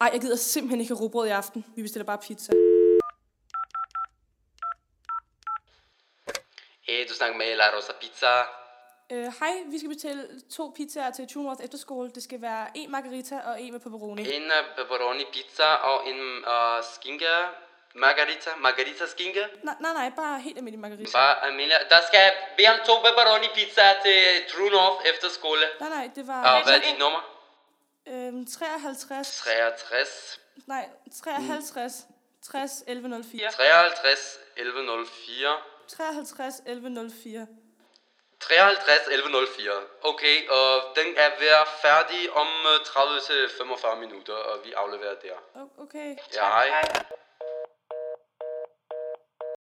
Ej, jeg gider simpelthen ikke have rugbrød i aften. Vi bestiller bare pizza. Hey, du snakker med La Rosa Pizza. Øh, hej, vi skal bestille to pizzaer til Tumors efterskole. Det skal være en margarita og en med pepperoni. En øh, pepperoni pizza og en uh, skinke. Margarita, margarita skinke. Nej, nej, nej, bare helt almindelig margarita. Bare Amelia, der skal jeg bede om to pepperoni pizza til True North efterskole. Nej, nej, det var Og hvad er dit nummer? øh, 53, 63 nej, 53, 60, 1104. 53 1104 53, 1104. 53 1104. Okay, og den er ved at være færdig om øh, 30 til 45 minutter, og vi afleverer der. O- Okay. Ja, hej.